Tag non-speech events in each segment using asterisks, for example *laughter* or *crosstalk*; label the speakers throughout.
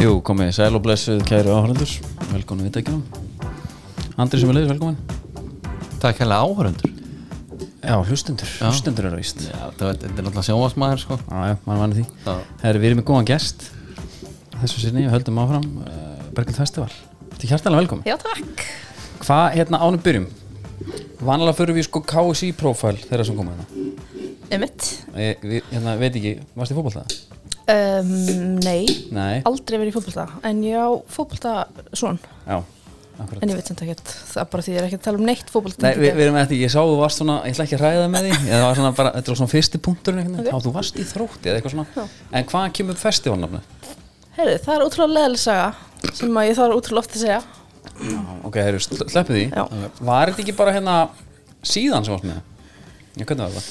Speaker 1: Jú, komið sæl og blessuð kæru áhörlendur Velkomin við dækjunum Andri sem er leiðis, velkomin
Speaker 2: Takk hérlega áhörundur
Speaker 1: Já, hlustendur, hlustendur eru víst Já,
Speaker 2: Já, þetta er þetta er náttúrulega sjónvarsmaður sko
Speaker 1: já, mann vanið því
Speaker 2: Já.
Speaker 1: Herri, við erum með góðan gest Þessu sinni, við höldum áfram uh, Berglind Festival Þetta er hjartalega velkomin
Speaker 3: Já, takk.
Speaker 1: Hvað, hérna, ánum byrjum Vanalega förum við sko KSI profile þeirra sem koma hérna
Speaker 3: Ummitt.
Speaker 1: Ég við, hérna, veit ekki, varst í fótbolta?
Speaker 3: Um, nei,
Speaker 1: Nei,
Speaker 3: aldrei verið í fótbolta, en ég á fótbolta svon,
Speaker 1: já, akkurat
Speaker 3: en ég veit sem þetta ekkert, það er bara því ég er ekki að tala um neitt fótbolta.
Speaker 1: Nei, við, við erum eftir, ég sá þú varst svona, ég ætla ekki að ræða
Speaker 3: *laughs*
Speaker 1: með því ég, það var svona bara, þetta var svona fyrsti punktur okay.
Speaker 3: Ok.
Speaker 1: þá þú varst í þrótti eða eitthvað svona en hvaðan kemur festivalnafni?
Speaker 3: Herri, það er ótrúlega leðileg saga sem að ég þarf ótrúlega oft að segja.
Speaker 1: Ok, það eru sleppið því
Speaker 3: Já.
Speaker 1: Var þetta ekki bara hérna síðan sem varst með? Já, hvernig var það?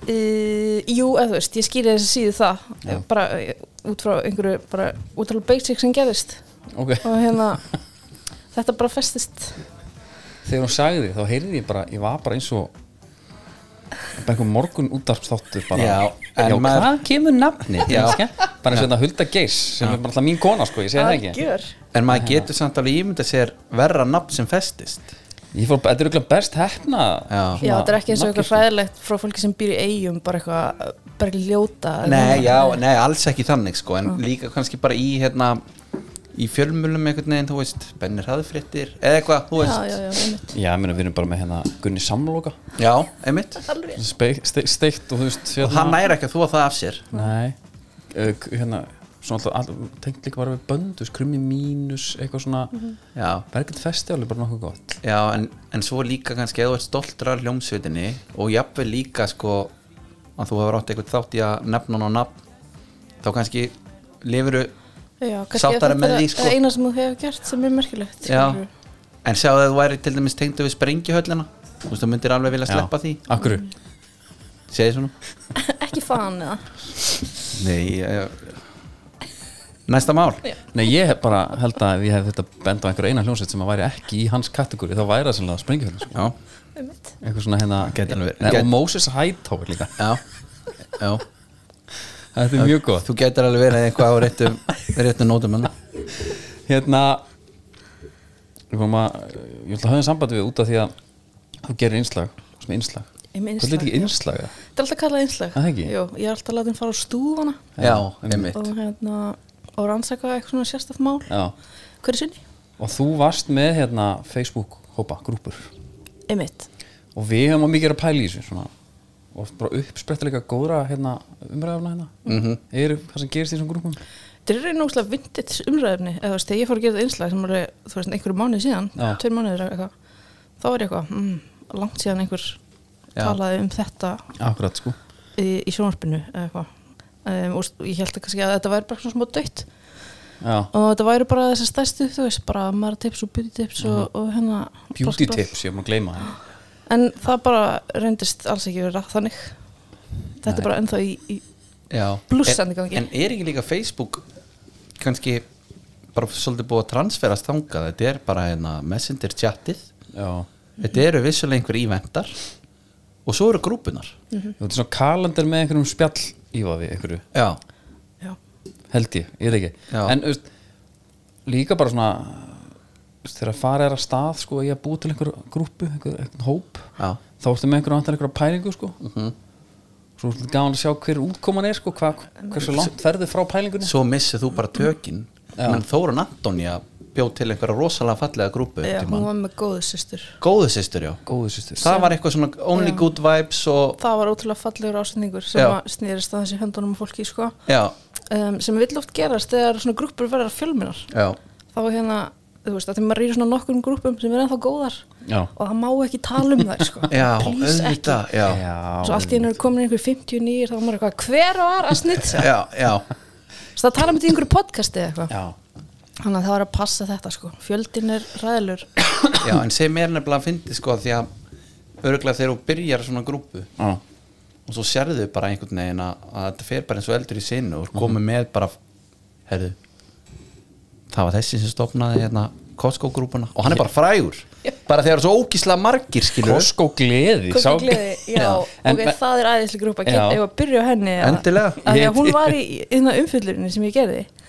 Speaker 3: Uh, jú, eða þú veist, ég skýri þess að síðu það,
Speaker 1: Já.
Speaker 3: bara eh, út frá einhverju, bara útrúlega basic sem gerðist
Speaker 1: Ok,
Speaker 3: og hérna, þetta bara festist.
Speaker 1: þegar hún sagði því, þá heyrði ég bara, ég var bara eins og bara einhver morgun útdarpsþáttur bara,
Speaker 2: Já, en
Speaker 1: já
Speaker 2: maður-
Speaker 1: hvað kemur nafni?
Speaker 2: Já.
Speaker 1: bara eins og þetta Hulda Geis sem er bara alltaf mín kona, sko, ég segi það ekki
Speaker 3: Algjör.
Speaker 2: En maður getur samt alveg ímynda sér verra nafn sem festist
Speaker 1: Ég fór, þetta er auðvitað best sko. hefna
Speaker 2: Já.
Speaker 3: Já, þetta er ekki eins og eitthvað
Speaker 1: nafngiftin.
Speaker 3: fræðilegt frá fólki sem býr í eigum, bara eitthvað, bara ekki ljóta. eða
Speaker 2: Nei,
Speaker 3: eitthvað.
Speaker 2: já, nei, alls ekki þannig sko En líka kannski bara í hérna Í fjölmjölum einhvern veginn, þú veist Benni hraðfréttir, eða eitthvað, þú
Speaker 3: Já,
Speaker 2: veist
Speaker 3: já,
Speaker 2: Já,
Speaker 3: já, einmitt.
Speaker 1: Já, ég meina, við erum bara með hérna Gunni Samloka
Speaker 2: einmitt
Speaker 3: Alveg.
Speaker 1: Spe- ste- Steikt og þú veist hérna-
Speaker 2: Og hann næri ekki að þvó það af sér
Speaker 1: Nei uh, k- Hérna, svona alltaf, alltaf Tengt líka bara við böndus, krummi mínus Eitthvað svona mm -hmm.
Speaker 2: Já,
Speaker 1: Berglind Festival er bara nokkuð gott
Speaker 2: já, en, en svo líka kannski eða þú ert stoltrar hljómsveitinni Og jafnvel líka sko Að þú hefur átt eitthvað þátt í að nefna hann á nafn Þá kannski lifiru
Speaker 3: Já, kannski
Speaker 2: Sáttari
Speaker 3: er
Speaker 2: með
Speaker 3: þetta
Speaker 2: því, sko.
Speaker 3: eina sem þú hefur gert sem er merkilegt
Speaker 2: Já,
Speaker 3: skilurðu.
Speaker 2: en sjáðu að þú væri til dæmis tengdu við sprengihöllina Þú veist, þú myndir alveg vilja sleppa því
Speaker 1: Akkur
Speaker 2: Segði svona
Speaker 3: ekki fan eða
Speaker 2: Nei, ég, Næsta mál
Speaker 1: Nei, ég hef bara held að ef ég hef þetta benda á einhverja eina hljónsveit sem að væri ekki í hans kategóri þá væri það sannlega springifjörn sko.
Speaker 2: Já,
Speaker 3: Einmitt.
Speaker 1: Eitthvað svona hérna
Speaker 2: Gæti alveg verið.
Speaker 1: Nei,
Speaker 2: Gæti-
Speaker 1: Og Moses Hightower líka
Speaker 2: já, já
Speaker 1: Þetta er mjög gott
Speaker 2: Þú getur alveg verið eitthvað um- á réttum, réttum nótum hana.
Speaker 1: hérna við fórum að ég ætla að hafa sambandi við út af því að þú gerir innslag, sem innslag
Speaker 3: Ég
Speaker 1: hvað
Speaker 3: með
Speaker 1: er
Speaker 3: innslag,
Speaker 1: ekki innslag? eða?
Speaker 3: þetta er alltaf kallað einslag
Speaker 1: Það ekki?
Speaker 3: Jú, ég er alltaf látið að fara á stúfana
Speaker 2: Já,
Speaker 3: og
Speaker 2: einmitt
Speaker 3: hérna og rannsaka eitthvað svona sérstætt mál
Speaker 1: Já.
Speaker 3: hverju sinni?
Speaker 1: og þú varst með hérna Facebook hópa, grúpur
Speaker 3: Einmitt
Speaker 1: og við hefum að mikið verið að pæla í þessu svona, og bara uppsprettilega góðra hérna, umræðuna hérna mm
Speaker 2: Mhm.
Speaker 1: -hmm. eru það sem gerist í þessum grúpum
Speaker 3: Þetta er náttúrulega vintage umræðefni eða þú veist, þegar ég fór að gera þetta einslag sem voru, þú veist, einhverju mánuð síðan
Speaker 1: Já.
Speaker 3: tveir mánuðir eða eitthvað þá var ég eitthvað, mm, langt síðan einhver
Speaker 2: Já.
Speaker 3: talaði um þetta
Speaker 1: akkurat sko
Speaker 3: í, í sjónvarpinu eða eitthvað um, og st- ég held að kannski að þetta væri bara svona smá dött
Speaker 1: Já.
Speaker 3: og þetta væri bara þessi stærstu þú veist, bara maratips og beauty tips og, og hérna
Speaker 1: beauty
Speaker 3: blass, blass.
Speaker 1: tips, ég má gleyma það
Speaker 3: en það bara reyndist alls ekki vera þannig þetta er bara ennþá í, í
Speaker 2: Já.
Speaker 3: Blússandi
Speaker 2: En-
Speaker 3: gangi.
Speaker 2: En er ekki líka Facebook kannski bara svolítið búið að transferast þangað Þetta er bara hérna, messenger chatið
Speaker 1: já
Speaker 3: Mhm.
Speaker 2: Þetta eru vissulega einhver íventar Og svo eru grúpunar
Speaker 3: Mhm.
Speaker 1: Þú ert svona kalendar með einhverjum spjall ífaði einhverju
Speaker 2: Já,
Speaker 3: já,
Speaker 1: held ég, ég veit ekki
Speaker 2: Já.
Speaker 1: en þú veist, líka bara svona þú veist, þegar fara er að stað sko, í að búa til einhver grúpu, einhver, einhver hóp
Speaker 2: Já.
Speaker 1: þá ertu með einhverjum andan einhverja pælingu sko. svo er þetta gaman að sjá hver útkoman er sko, hva, hversu langt ferði frá pælingunni
Speaker 2: svo missið þú bara tökin menn Þórun Antonija bjóð til einhverja rosalega fallega grúpu
Speaker 3: já
Speaker 2: einhvern
Speaker 3: hún
Speaker 2: tímann.
Speaker 3: var með góðu systur
Speaker 2: góðu sýstur já
Speaker 1: góðu sýstur
Speaker 2: það var eitthvað svona only good vibes og
Speaker 3: það var ótrúlega fallegur ásendingur sem
Speaker 2: Já.
Speaker 3: að snýrist að þessi höndunum og fólki sko,
Speaker 2: já,
Speaker 3: um, sem vill oft gerast þegar svona grúppur verða fjölminar
Speaker 2: já,
Speaker 3: þá hérna, þú veist, að því maður er í svona nokkrum grúppum sem er ennþá góðar
Speaker 1: já,
Speaker 3: og það má ekki tala um þær sko.
Speaker 2: já,
Speaker 3: please ekki
Speaker 2: auðvitað já, já,
Speaker 1: já,
Speaker 3: svo allt í hennu er komin einhver 59 þá var maður eitthvað, hver var að
Speaker 1: *laughs*
Speaker 3: snitsa
Speaker 2: já, já,
Speaker 3: svo það tala um þetta í einhverju podcasti eða eitthvað
Speaker 1: já.
Speaker 3: þannig að það var að passa þetta sko fjöldin er ræðilur
Speaker 2: en sem er nefnilega að fyndi sko því að örgulega þegar þú byrjar svona grúpu
Speaker 1: Já.
Speaker 2: og svo sérðu bara einhvern veginn að, að þetta fer bara eins og eldur í sinu og komið með bara herðu það var þessi sem stopnaði hérna Costco grúpuna og hann er bara frægur bara þegar svo ógíslega margir skilur
Speaker 1: Costco gleði sá-
Speaker 3: Gleði,
Speaker 1: *laughs*
Speaker 3: já,
Speaker 1: En-
Speaker 3: ok, það er æðislega grúpa
Speaker 1: Já.
Speaker 3: ef að byrja á henni eða-
Speaker 2: Endilega.
Speaker 3: af því
Speaker 1: *laughs* Ég-
Speaker 3: að hún var í, í umfyllurinni hérna sem ég gerði